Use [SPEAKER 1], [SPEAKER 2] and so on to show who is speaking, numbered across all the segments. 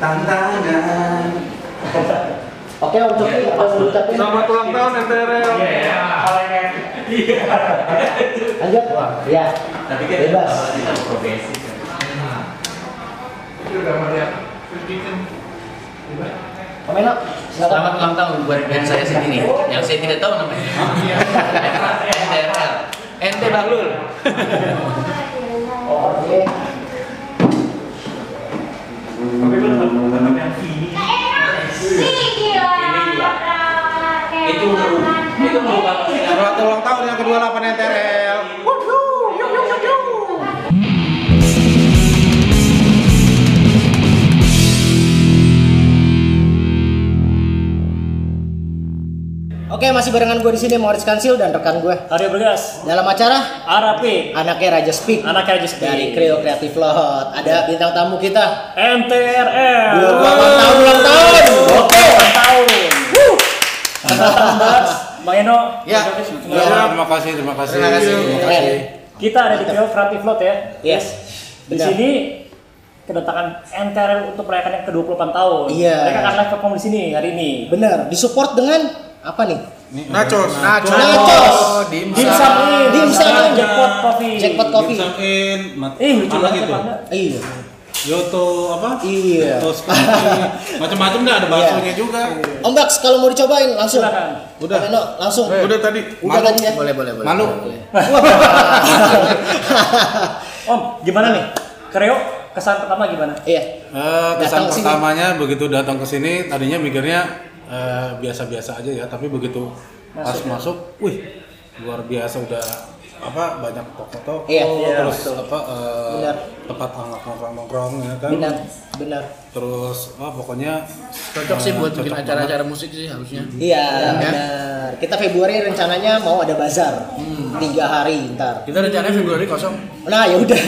[SPEAKER 1] Tantangan
[SPEAKER 2] Oke, Om Coki, apa yang mau diucapin?
[SPEAKER 1] Selamat ulang tahun NTRL
[SPEAKER 2] Lanjut. Ya,
[SPEAKER 3] kan
[SPEAKER 2] bebas. Om Eno, silakan.
[SPEAKER 4] Selamat ulang tahun buat band saya sendiri yang saya tidak tahu namanya. NTRL. NT Bahlul.
[SPEAKER 2] Oke.
[SPEAKER 4] Itu itu merupakan
[SPEAKER 1] Selamat ulang tahun yang ke-28 NTRL
[SPEAKER 2] Oke, masih barengan gue di sini Moritz Kansil dan rekan gue.
[SPEAKER 3] Aryo Bergas,
[SPEAKER 2] Dalam acara
[SPEAKER 3] RAP,
[SPEAKER 2] Anaknya Raja Speak
[SPEAKER 3] anak Iya. aja
[SPEAKER 2] dari Kreo Creative Lot. Ada bintang tamu kita.
[SPEAKER 3] MTRL.
[SPEAKER 2] 28 tahun ulang tahun. Oke.
[SPEAKER 3] Ulang tahun. Selamat Mbak, Bang Eno.
[SPEAKER 2] Ya.
[SPEAKER 3] Bang Eno.
[SPEAKER 1] Terima kasih, terima kasih
[SPEAKER 2] Terima kasih. Keren.
[SPEAKER 3] Kita ada di Kreo Kreatif Lot ya.
[SPEAKER 2] Yes.
[SPEAKER 3] Di
[SPEAKER 2] Benar.
[SPEAKER 3] sini kedatangan NTRL untuk merayakan yang ke-28 tahun.
[SPEAKER 2] Iya.
[SPEAKER 3] Mereka akan live perform di sini hari ini.
[SPEAKER 2] Benar, disupport dengan apa nih?
[SPEAKER 1] Nachos Nachos
[SPEAKER 2] Nachos.
[SPEAKER 3] Dimsum ini,
[SPEAKER 2] Dimsum
[SPEAKER 3] dimsum
[SPEAKER 2] ini.
[SPEAKER 3] jackpot coffee.
[SPEAKER 2] Jackpot Coffee.
[SPEAKER 5] Dimsum in, mat-
[SPEAKER 3] Eh, lucu
[SPEAKER 5] apa
[SPEAKER 3] banget
[SPEAKER 5] gitu?
[SPEAKER 3] Anda.
[SPEAKER 2] Iya.
[SPEAKER 5] Yoto apa?
[SPEAKER 2] Iya. Iya.
[SPEAKER 5] Yoto spaghetti. macam-macam dah ada baksonya juga.
[SPEAKER 2] Om Bax, kalau mau dicobain langsung.
[SPEAKER 3] Silakan.
[SPEAKER 5] Udah.
[SPEAKER 2] Om Eno, langsung.
[SPEAKER 5] Udah tadi.
[SPEAKER 2] Udah
[SPEAKER 5] malu.
[SPEAKER 2] tadi ya? Boleh, boleh,
[SPEAKER 5] Malu.
[SPEAKER 3] Om, gimana nih? Kreo kesan pertama gimana?
[SPEAKER 2] Iya.
[SPEAKER 5] Eh,
[SPEAKER 2] Datang
[SPEAKER 5] kesan
[SPEAKER 2] sini.
[SPEAKER 5] pertamanya begitu datang ke sini tadinya mikirnya eh, biasa-biasa aja ya, tapi begitu pas masuk, wih luar biasa udah apa banyak toko-toko
[SPEAKER 2] Iya, iya,
[SPEAKER 5] terus apa eh,
[SPEAKER 2] Benar.
[SPEAKER 5] tempat nongkrong-nongkrong ya kan
[SPEAKER 2] Benar, benar.
[SPEAKER 5] terus wah pokoknya
[SPEAKER 6] cocok sih
[SPEAKER 5] eh,
[SPEAKER 6] buat bikin
[SPEAKER 5] cocok
[SPEAKER 6] acara-acara musik sih harusnya
[SPEAKER 4] Hmm.
[SPEAKER 2] Iya, benar. Kita Februari rencananya mau ada bazar. Tiga hari ntar.
[SPEAKER 6] kita rencananya Februari kosong
[SPEAKER 2] Nah, ya udah.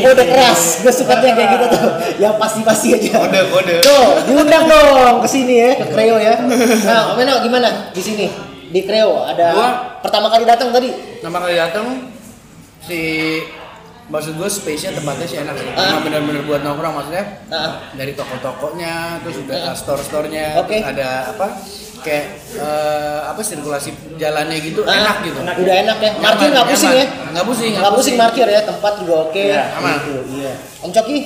[SPEAKER 2] Gua udah keras. Gue suka yang kayak gitu tuh. Yang pasti-pasti aja. Kode, kode. Tuh, diundang dong ke sini ya, ke Kreo ya. Nah, Om Eno gimana di sini? Di Kreo ada
[SPEAKER 6] Gua-
[SPEAKER 2] pertama kali datang tadi.
[SPEAKER 6] nama kali datang si maksud gue space-nya tempatnya sih enak sih
[SPEAKER 2] Ah.
[SPEAKER 6] Emang bener-bener buat nongkrong maksudnya
[SPEAKER 2] Nah,
[SPEAKER 6] dari toko-tokonya terus
[SPEAKER 4] Ah.
[SPEAKER 6] udah store-storenya
[SPEAKER 2] Oke.
[SPEAKER 6] terus ada apa kayak eh, apa sirkulasi jalannya gitu
[SPEAKER 2] Ah.
[SPEAKER 6] enak gitu
[SPEAKER 2] udah enak ya. Markir nggak pusing ya?
[SPEAKER 6] nggak pusing
[SPEAKER 2] Nggak pusing markir ya, tempat juga oke.
[SPEAKER 3] Iya,
[SPEAKER 6] aman.
[SPEAKER 2] Gitu, iya. Om Coki,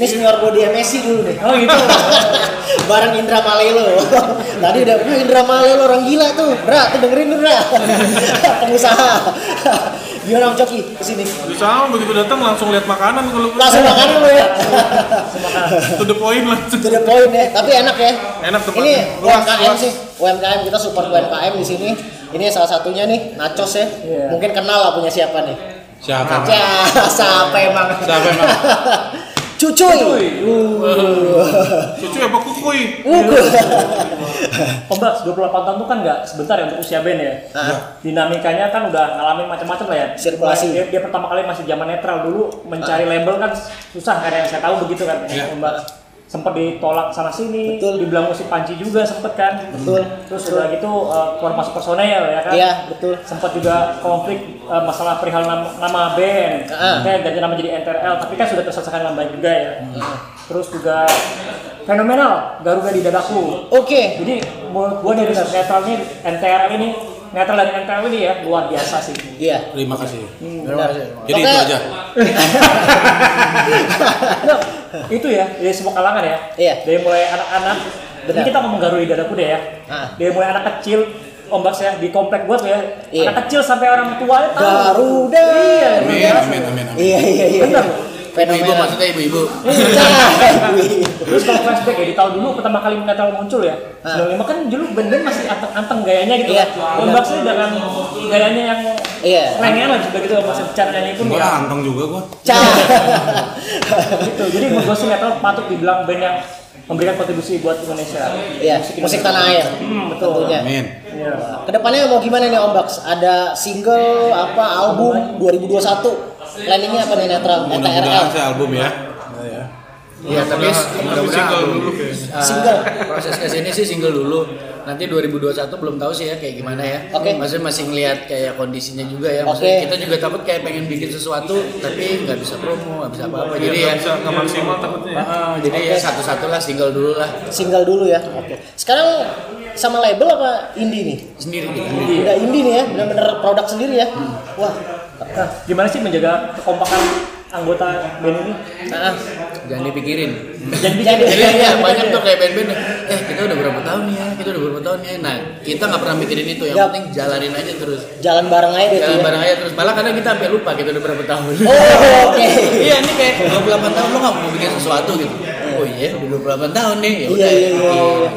[SPEAKER 2] ini senior gue di MSI dulu deh.
[SPEAKER 3] Oh gitu.
[SPEAKER 2] Bareng Indra Malelo. Tadi udah "Wih, Indra Malelo orang gila tuh. Bra, tuh dengerin tuh, Bra. Pengusaha. Gimana Om Coki kesini?
[SPEAKER 5] Terus sama begitu datang langsung lihat makanan kalau
[SPEAKER 2] Langsung makan dulu ya.
[SPEAKER 5] to the point langsung.
[SPEAKER 2] To the point ya, tapi enak ya.
[SPEAKER 5] Enak tempatnya.
[SPEAKER 2] Ini
[SPEAKER 5] Luas,
[SPEAKER 2] UMKM
[SPEAKER 5] luas.
[SPEAKER 2] sih. UMKM kita support UMKM di sini. Ini salah satunya nih, Nachos ya.
[SPEAKER 3] Iya.
[SPEAKER 2] Mungkin kenal lah punya siapa nih.
[SPEAKER 5] Siapa?
[SPEAKER 7] Nah,
[SPEAKER 2] Ya, siapa emang?
[SPEAKER 5] Siapa emang?
[SPEAKER 2] Cucuy.
[SPEAKER 5] Cucu apa kukui?
[SPEAKER 3] Om Bas, 28 tahun itu kan nggak sebentar ya untuk usia band ya.
[SPEAKER 2] Ah.
[SPEAKER 3] Dinamikanya kan udah ngalamin macam-macam lah ya.
[SPEAKER 2] Sirkulasi. Nah.
[SPEAKER 3] Dia, dia pertama kali masih zaman netral dulu mencari label kan susah kan yang saya tahu begitu kan.
[SPEAKER 5] Iya.
[SPEAKER 3] Om Bas sempat ditolak sana sini,
[SPEAKER 2] Betul.
[SPEAKER 3] dibilang musik panci juga sempet kan.
[SPEAKER 2] Betul.
[SPEAKER 3] Terus udah gitu eh, keluar masuk personel ya kan.
[SPEAKER 2] Iya, betul.
[SPEAKER 3] Sempat juga konflik eh, masalah perihal nama, nama band.
[SPEAKER 2] Ah.
[SPEAKER 3] Kan ganti nama jadi NTRL, tapi kan sudah terselesaikan dengan baik juga ya.
[SPEAKER 2] Nah.
[SPEAKER 3] Terus juga fenomenal Garuda di dadaku.
[SPEAKER 2] Oke.
[SPEAKER 3] Jadi menurut gua dari netralnya NTRL ini netral dari NTRL ini ya luar biasa sih.
[SPEAKER 2] Iya.
[SPEAKER 5] Terima kasih.
[SPEAKER 7] Hmm,
[SPEAKER 2] Benar.
[SPEAKER 5] Jadi itu
[SPEAKER 2] Oke.
[SPEAKER 5] aja.
[SPEAKER 3] Nah, itu ya dari semua kalangan ya.
[SPEAKER 2] Iya.
[SPEAKER 3] Dari mulai anak-anak. Ini
[SPEAKER 2] Benar.
[SPEAKER 3] kita ngomong Garuda dadaku deh ya.
[SPEAKER 2] Ah.
[SPEAKER 3] Dari mulai anak kecil ombak saya di komplek gua tuh ya
[SPEAKER 7] Iya.
[SPEAKER 3] anak kecil sampai orang tua ya tahu
[SPEAKER 7] Garuda.
[SPEAKER 3] iya
[SPEAKER 5] Amin, amin, amin, amin.
[SPEAKER 7] Iya iya iya.
[SPEAKER 3] Bener.
[SPEAKER 7] Fenomena.
[SPEAKER 6] Ibu maksudnya ibu-ibu.
[SPEAKER 3] terus kalau flashback ya di tahun dulu pertama kali metal muncul ya 95 kan dulu band-band masih anteng-anteng gayanya gitu
[SPEAKER 7] Iya,
[SPEAKER 3] kan ombak saya dengan gayanya yang
[SPEAKER 7] Iya.
[SPEAKER 3] lengean lah juga gitu masih bercandanya pun
[SPEAKER 5] Gua
[SPEAKER 3] ya
[SPEAKER 5] anteng juga gua.
[SPEAKER 7] Cah.
[SPEAKER 3] gitu jadi menurut gua sih metal patut dibilang band yang memberikan kontribusi buat Indonesia
[SPEAKER 7] Iya, musik tanah air.
[SPEAKER 3] Hmm, betul.
[SPEAKER 7] Tentunya.
[SPEAKER 5] Amin.
[SPEAKER 3] Iya.
[SPEAKER 7] Kedepannya mau gimana nih Om Bax? Ada single apa album 2021? Planningnya apa nih Netral? NTRL?
[SPEAKER 5] Mudah-mudahan saya album ya. Nah, ya.
[SPEAKER 6] Iya, tapi mudah-mudahan eh,
[SPEAKER 7] Single.
[SPEAKER 6] proses kesini sih single dulu. Nanti 2021 belum tahu sih ya kayak gimana ya.
[SPEAKER 7] Oke.
[SPEAKER 6] Maksudnya masih ngelihat kayak kondisinya juga ya. Maksudnya
[SPEAKER 7] Oke.
[SPEAKER 6] kita juga takut kayak pengen bikin sesuatu tapi nggak bisa promo, nggak bisa apa-apa. Jadi ya,
[SPEAKER 1] Iya, Nggak bisa nggak maksimal takutnya ya.
[SPEAKER 6] eh, jadi ya satu-satu lah single dulu lah
[SPEAKER 7] Single dulu ya. Oke. Sekarang sama label apa indie nih?
[SPEAKER 6] sendiri. gitu.
[SPEAKER 7] Udah indie nih ya, bener-bener produk sendiri ya.
[SPEAKER 6] Hmm.
[SPEAKER 7] Wah,
[SPEAKER 3] Nah, gimana sih menjaga kekompakan anggota band ini?
[SPEAKER 6] Ah, jangan dipikirin.
[SPEAKER 3] Jadi
[SPEAKER 7] Jadi-
[SPEAKER 6] Jadi ya banyak tuh kayak band-band yang, eh kita udah berapa tahun ya, kita udah berapa tahun ya. Nah kita nggak pernah mikirin itu, yang
[SPEAKER 7] Yap.
[SPEAKER 6] penting jalanin aja terus.
[SPEAKER 7] jalan bareng aja deh tuh
[SPEAKER 6] Jalan
[SPEAKER 7] ya.
[SPEAKER 6] bareng aja terus. Malah kadang kita sampai lupa kita udah berapa tahun.
[SPEAKER 7] Oh, oke.
[SPEAKER 6] iya ini kayak 28 tahun lo nggak mau bikin sesuatu gitu. Oh iya udah 28 tahun nih. Ya
[SPEAKER 7] Iya,
[SPEAKER 6] udah.
[SPEAKER 7] iya, iya. iya.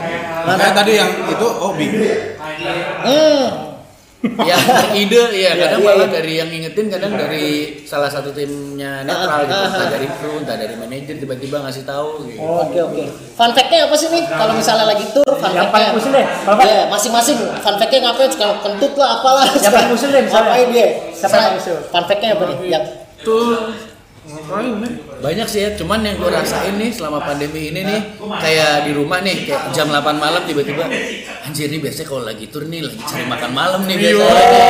[SPEAKER 5] Makanya tadi yang itu hobi.
[SPEAKER 7] Hmm.
[SPEAKER 6] Ya ide ya kadang
[SPEAKER 7] iya,
[SPEAKER 6] malah
[SPEAKER 7] iya.
[SPEAKER 6] dari yang ngingetin kadang dari salah satu timnya netral gitu.
[SPEAKER 7] Ah, ah,
[SPEAKER 6] Entah
[SPEAKER 7] ah.
[SPEAKER 6] dari kru, entah dari manajer tiba-tiba ngasih tahu gitu.
[SPEAKER 7] Oke oke. Fun fact-nya apa sih nih? Kalau misalnya lagi tour, fun
[SPEAKER 3] Yang
[SPEAKER 7] fact-nya-
[SPEAKER 3] paling pusing deh, Bapak.
[SPEAKER 7] Iya, masing-masing. Fun fact-nya ngapain? Kalau kentut lah, apalah.
[SPEAKER 3] Yang paling usil deh, misalnya.
[SPEAKER 7] Ngapain dia?
[SPEAKER 3] Siapa yang paling usil?
[SPEAKER 7] Fun fact-nya apa nih? Ya. Yang
[SPEAKER 6] Betul. Banyak sih ya, cuman yang gue rasain nih selama pandemi ini nih Kayak di rumah nih, kayak jam 8 malam tiba-tiba Anjir nih biasanya kalau lagi tur nih, lagi cari makan malam nih biasanya nih.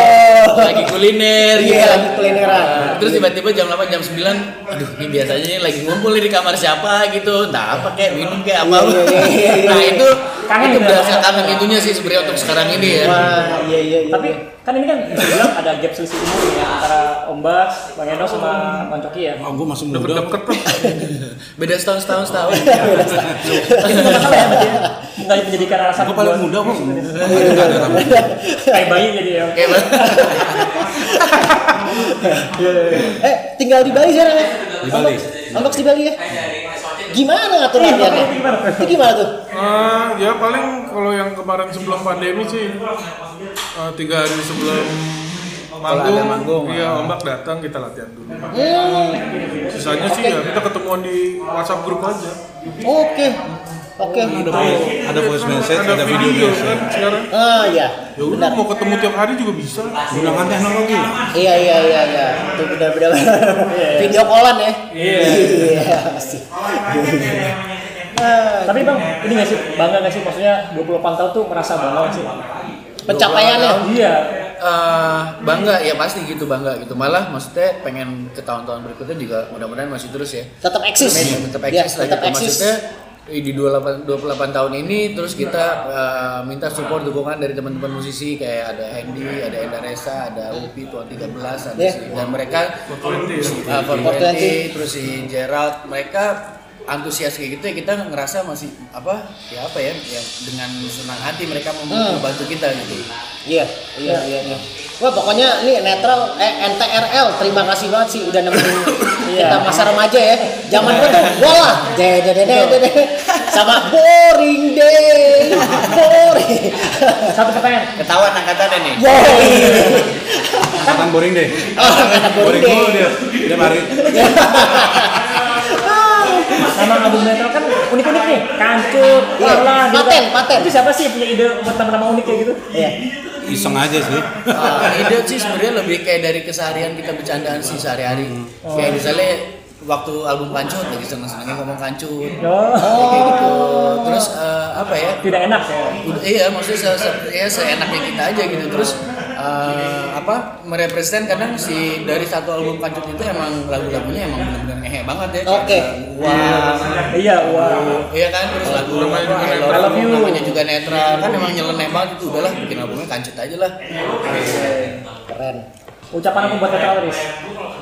[SPEAKER 7] Oh.
[SPEAKER 6] Lagi kuliner
[SPEAKER 7] Iya,
[SPEAKER 6] gitu
[SPEAKER 7] lagi kulineran.
[SPEAKER 6] Nah, Terus tiba-tiba jam 8, jam 9 Aduh ini biasanya nih lagi ngumpul nih di kamar siapa gitu Entah apa kayak minum kayak apa
[SPEAKER 7] Iya, iya, iya, iya.
[SPEAKER 6] Nah itu,
[SPEAKER 3] Kangen
[SPEAKER 6] itu
[SPEAKER 3] ya?
[SPEAKER 6] berasa kangen itunya sih sebenarnya untuk sekarang ini ya
[SPEAKER 7] Wah, iya iya iya.
[SPEAKER 3] Tapi kan ini kan bisa dibilang ada gap selisih umur ya antara Om Bas, Bang Eno sama Bang Coki ya.
[SPEAKER 5] Oh, gua masih muda.
[SPEAKER 6] Beda setahun setahun setahun
[SPEAKER 7] Iya,
[SPEAKER 3] Tapi nggak masalah ya berarti ya. Nggak menjadikan alasan
[SPEAKER 5] Gua paling
[SPEAKER 3] buat-
[SPEAKER 5] muda kok.
[SPEAKER 7] Iya.
[SPEAKER 3] Kayak bayi jadi ya.
[SPEAKER 6] Kayak banget
[SPEAKER 7] eh, tinggal di Bali sekarang ya?
[SPEAKER 5] Di Bali.
[SPEAKER 7] Ambak di Bali ya? Gimana ngatur latihannya? Itu gimana tuh?
[SPEAKER 1] Eh, ya paling kalau yang kemarin sebelum pandemi sih eh, tiga hari sebelum manggung,
[SPEAKER 6] ada manggung,
[SPEAKER 1] iya ombak datang kita latihan dulu.
[SPEAKER 7] Hmm,
[SPEAKER 1] Sisanya sih
[SPEAKER 7] Oke.
[SPEAKER 1] ya kita ketemuan di WhatsApp grup aja.
[SPEAKER 7] oke. Oke.
[SPEAKER 5] Ada voice, ada voice message, ada video.
[SPEAKER 1] kan sekarang.
[SPEAKER 7] Ah, iya.
[SPEAKER 1] Ya udah mau ketemu tiap hari juga bisa.
[SPEAKER 5] Gunakan teknologi.
[SPEAKER 7] Iya iya iya iya. Itu benar-benar video callan ya. Iya. Iya pasti. Ah,
[SPEAKER 3] Tapi Bang, ini nggak sih bangga nggak sih maksudnya 28 tahun tuh merasa bangga nggak sih?
[SPEAKER 7] Pencapaiannya.
[SPEAKER 3] Iya.
[SPEAKER 6] eh bangga ya pasti gitu bangga gitu malah maksudnya pengen ke tahun-tahun berikutnya juga mudah-mudahan masih terus ya
[SPEAKER 7] Tetap eksis.
[SPEAKER 3] Iya,
[SPEAKER 6] Pengen tetap
[SPEAKER 7] Ya,
[SPEAKER 6] eksis lah
[SPEAKER 7] tetap
[SPEAKER 6] gitu.
[SPEAKER 7] eksis.
[SPEAKER 6] maksudnya eh, di 28 28 tahun ini terus kita eh, minta support dukungan dari teman-teman musisi kayak ada Hendy, ada Enda Resa, ada Upi Tuan 13 ada
[SPEAKER 7] Ya.
[SPEAKER 6] si dan mereka
[SPEAKER 7] Iya.
[SPEAKER 1] Iya.
[SPEAKER 6] eh, 420,
[SPEAKER 7] Fortwenty.
[SPEAKER 6] terus si Gerald mereka antusias kayak gitu ya kita ngerasa masih apa ya apa ya, ya dengan senang hati mereka mem-
[SPEAKER 7] Hmm.
[SPEAKER 6] membantu kita gitu
[SPEAKER 7] Iya, iya, iya, iya. Wah pokoknya ini netral, eh, NTRL, terima kasih banget sih udah nemenin kita
[SPEAKER 3] Iya.
[SPEAKER 7] masa remaja ya. Zaman itu tuh bola, dedededede, sama boring day, boring,
[SPEAKER 3] Satu pertanyaan.
[SPEAKER 6] ketahuan angkatannya nih
[SPEAKER 7] boring.
[SPEAKER 5] Angkatan boring deh.
[SPEAKER 7] Oh, kata
[SPEAKER 5] Boring
[SPEAKER 7] boring day.
[SPEAKER 5] dulu dia. Dia mari.
[SPEAKER 3] Nama album metal kan unik-unik nih. Kancut,
[SPEAKER 7] Iya.
[SPEAKER 3] Lala, gitu.
[SPEAKER 7] Paten, paten.
[SPEAKER 3] Itu siapa sih yang punya ide buat nama-nama unik kayak gitu?
[SPEAKER 7] Iya.
[SPEAKER 5] Iseng aja sih.
[SPEAKER 6] Ah, ide sih sebenarnya lebih kayak dari keseharian kita bercandaan sih sehari-hari kayak misalnya waktu album kancut lagi seneng-senengnya ngomong kancut
[SPEAKER 3] Oh,
[SPEAKER 6] kayak gitu terus eh, apa ya
[SPEAKER 3] tidak enak ya.
[SPEAKER 6] Udah- iya maksudnya se se- ya seenaknya kita aja gitu terus eh, apa merepresent kadang si dari satu album kancut itu emang lagu-lagunya emang benar-benar ngehe banget ya Kayak
[SPEAKER 7] Oke.
[SPEAKER 6] ada wah
[SPEAKER 3] Iya, wah.
[SPEAKER 6] Iya kan, terus lagu
[SPEAKER 1] Namanya juga
[SPEAKER 6] I
[SPEAKER 1] netral.
[SPEAKER 6] Love You, namanya juga netral kan emang nyeleneh banget itu udahlah bikin albumnya kancut aja lah
[SPEAKER 7] Keren.
[SPEAKER 3] Ucapan aku buat tetrawaris.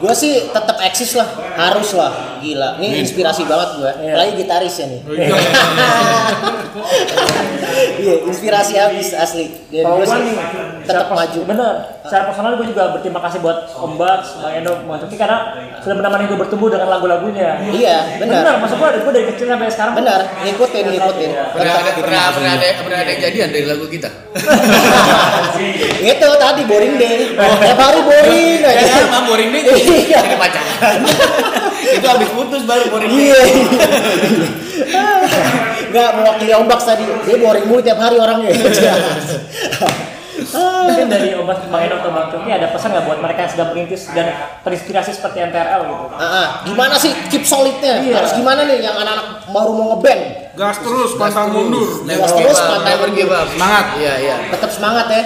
[SPEAKER 7] Gue sih tetap eksis lah, harus lah, gila. Ini inspirasi banget gue.
[SPEAKER 3] Iya.
[SPEAKER 7] Apalagi gitaris ya nih. Iya, inspirasi habis asli. Dan
[SPEAKER 3] Kalau
[SPEAKER 7] gue
[SPEAKER 3] gue
[SPEAKER 7] Iya, sih
[SPEAKER 3] nih,
[SPEAKER 7] tetap
[SPEAKER 3] secara pers-
[SPEAKER 7] maju.
[SPEAKER 3] Bener. Secara personal gue juga berterima kasih buat Om Baks, Bang Endo, Bang Coki karena sudah menemani gue bertumbuh dengan lagu-lagunya.
[SPEAKER 7] Iya,
[SPEAKER 3] Bener.
[SPEAKER 7] benar.
[SPEAKER 3] maksud gue, gue dari kecil sampai sekarang.
[SPEAKER 7] Benar, ngikutin, ngikutin.
[SPEAKER 6] Pernah ada pernah pernah ada pernah ada yang jadian dari lagu kita.
[SPEAKER 7] Itu tadi boring deh. Tiap hari boring
[SPEAKER 6] Ya
[SPEAKER 7] aja.
[SPEAKER 6] sama boring nih
[SPEAKER 7] Iya.
[SPEAKER 6] jadi pacaran. Itu habis putus baru boring.
[SPEAKER 7] Iya. Enggak mewakili ombak tadi. Dia boring mulu tiap hari orangnya.
[SPEAKER 3] Mungkin dari Om Baks, Bang Endo, atau Bang Coki ada pesan nggak buat mereka yang sedang merintis dan terinspirasi seperti MTRL gitu?
[SPEAKER 7] Ah, ah. gimana sih keep solidnya?
[SPEAKER 3] Iya.
[SPEAKER 7] Harus gimana nih yang anak-anak baru mau ngeband?
[SPEAKER 1] Gas terus, pantang mundur.
[SPEAKER 7] Gas terus, pantang
[SPEAKER 6] pantang
[SPEAKER 7] mundur.
[SPEAKER 6] Semangat. Iya iya.
[SPEAKER 7] Tetap semangat ya.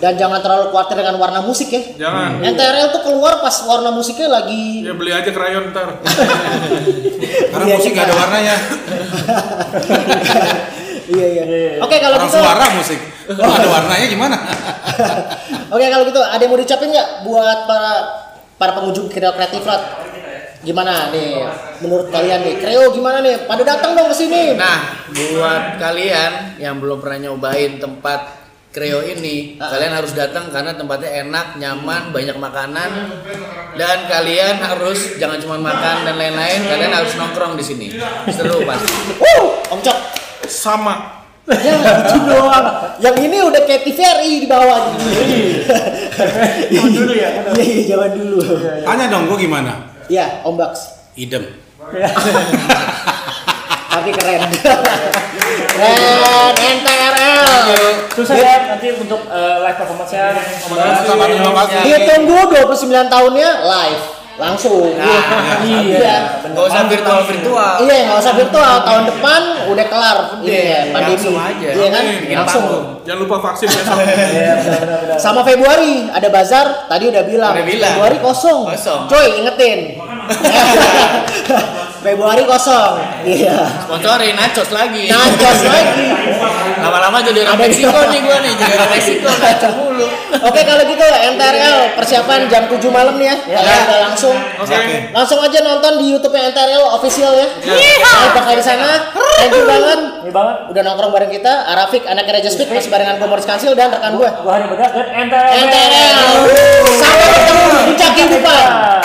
[SPEAKER 7] Dan jangan terlalu khawatir dengan warna musik ya.
[SPEAKER 1] Jangan.
[SPEAKER 7] NTRL tuh keluar pas warna musiknya lagi
[SPEAKER 1] Ya beli aja krayon ntar.
[SPEAKER 5] Karena
[SPEAKER 7] Iya,
[SPEAKER 5] musik
[SPEAKER 7] kita-
[SPEAKER 5] gak ada warnanya.
[SPEAKER 7] Iya iya.
[SPEAKER 3] Iya.
[SPEAKER 7] Oke kalau
[SPEAKER 5] Orang
[SPEAKER 7] gitu.
[SPEAKER 5] suara musik. Kalau ada warnanya gimana?
[SPEAKER 7] Oke kalau gitu ada yang mau diucapin nggak buat para para pengunjung Kreo Kreatif Rod? Gimana nih menurut kalian nih? Kreo gimana nih? Pada datang dong ke sini.
[SPEAKER 6] Nah, buat kalian yang belum pernah nyobain tempat Kreo ini, kalian harus datang karena tempatnya enak, nyaman, banyak makanan, dan kalian harus jangan cuma makan dan lain-lain, kalian harus nongkrong di sini. Seru pasti.
[SPEAKER 7] Wuh, Om Cok.
[SPEAKER 1] Sama.
[SPEAKER 7] Ya, gitu doang. Yang ini udah kayak TVRI di bawah.
[SPEAKER 3] Zaman dulu ya, bener.
[SPEAKER 7] Iya, iya, zaman dulu.
[SPEAKER 5] Tanya dong gue gimana?
[SPEAKER 7] Iya, Om Baks.
[SPEAKER 5] Idem.
[SPEAKER 7] Tapi keren. keren, eh. NTRL.
[SPEAKER 3] Susah ya nanti untuk eh, live performance-nya. Om Baks.
[SPEAKER 5] Sama terima kasih.
[SPEAKER 6] Iya,
[SPEAKER 7] Ditunggu 29 tahunnya live. Langsung.
[SPEAKER 6] Nah.
[SPEAKER 3] iya.
[SPEAKER 6] Gak usah virtual virtual.
[SPEAKER 7] Iya, nggak usah virtual. Tahun depan udah kelar. Iya, pandemi.
[SPEAKER 6] langsung aja.
[SPEAKER 7] Iya kan?
[SPEAKER 1] Bikin
[SPEAKER 7] Langsung.
[SPEAKER 1] Jangan lupa vaksin ya, besok.
[SPEAKER 7] Sama Februari ada bazar. Tadi udah bilang.
[SPEAKER 6] Udah bilang.
[SPEAKER 7] Februari kosong.
[SPEAKER 6] Kosong.
[SPEAKER 7] Coy, ingetin. Februari kosong. Iya.
[SPEAKER 6] Sponsorin Nachos lagi.
[SPEAKER 7] Nachos lagi.
[SPEAKER 6] Lama-lama jadi orang
[SPEAKER 7] Ada
[SPEAKER 6] Meksiko
[SPEAKER 7] juga.
[SPEAKER 6] nih gua nih, jadi orang Meksiko kan. Nachos mulu.
[SPEAKER 7] Oke kalau gitu NTRL persiapan jam 7 malam nih ya. Kalian udah langsung
[SPEAKER 1] Oke.
[SPEAKER 7] langsung aja nonton di YouTube NTRL official ya. Saya bakal di sana. Thank you banget.
[SPEAKER 3] Ini banget.
[SPEAKER 7] Udah nongkrong bareng kita, Arafik, anak Raja Speed, masih barengan gue Morris Kansil dan rekan gue.
[SPEAKER 3] Gua hari bedah dan MTRL.
[SPEAKER 7] NTRL. Sampai ketemu di Caki Dupa.
[SPEAKER 3] Iya.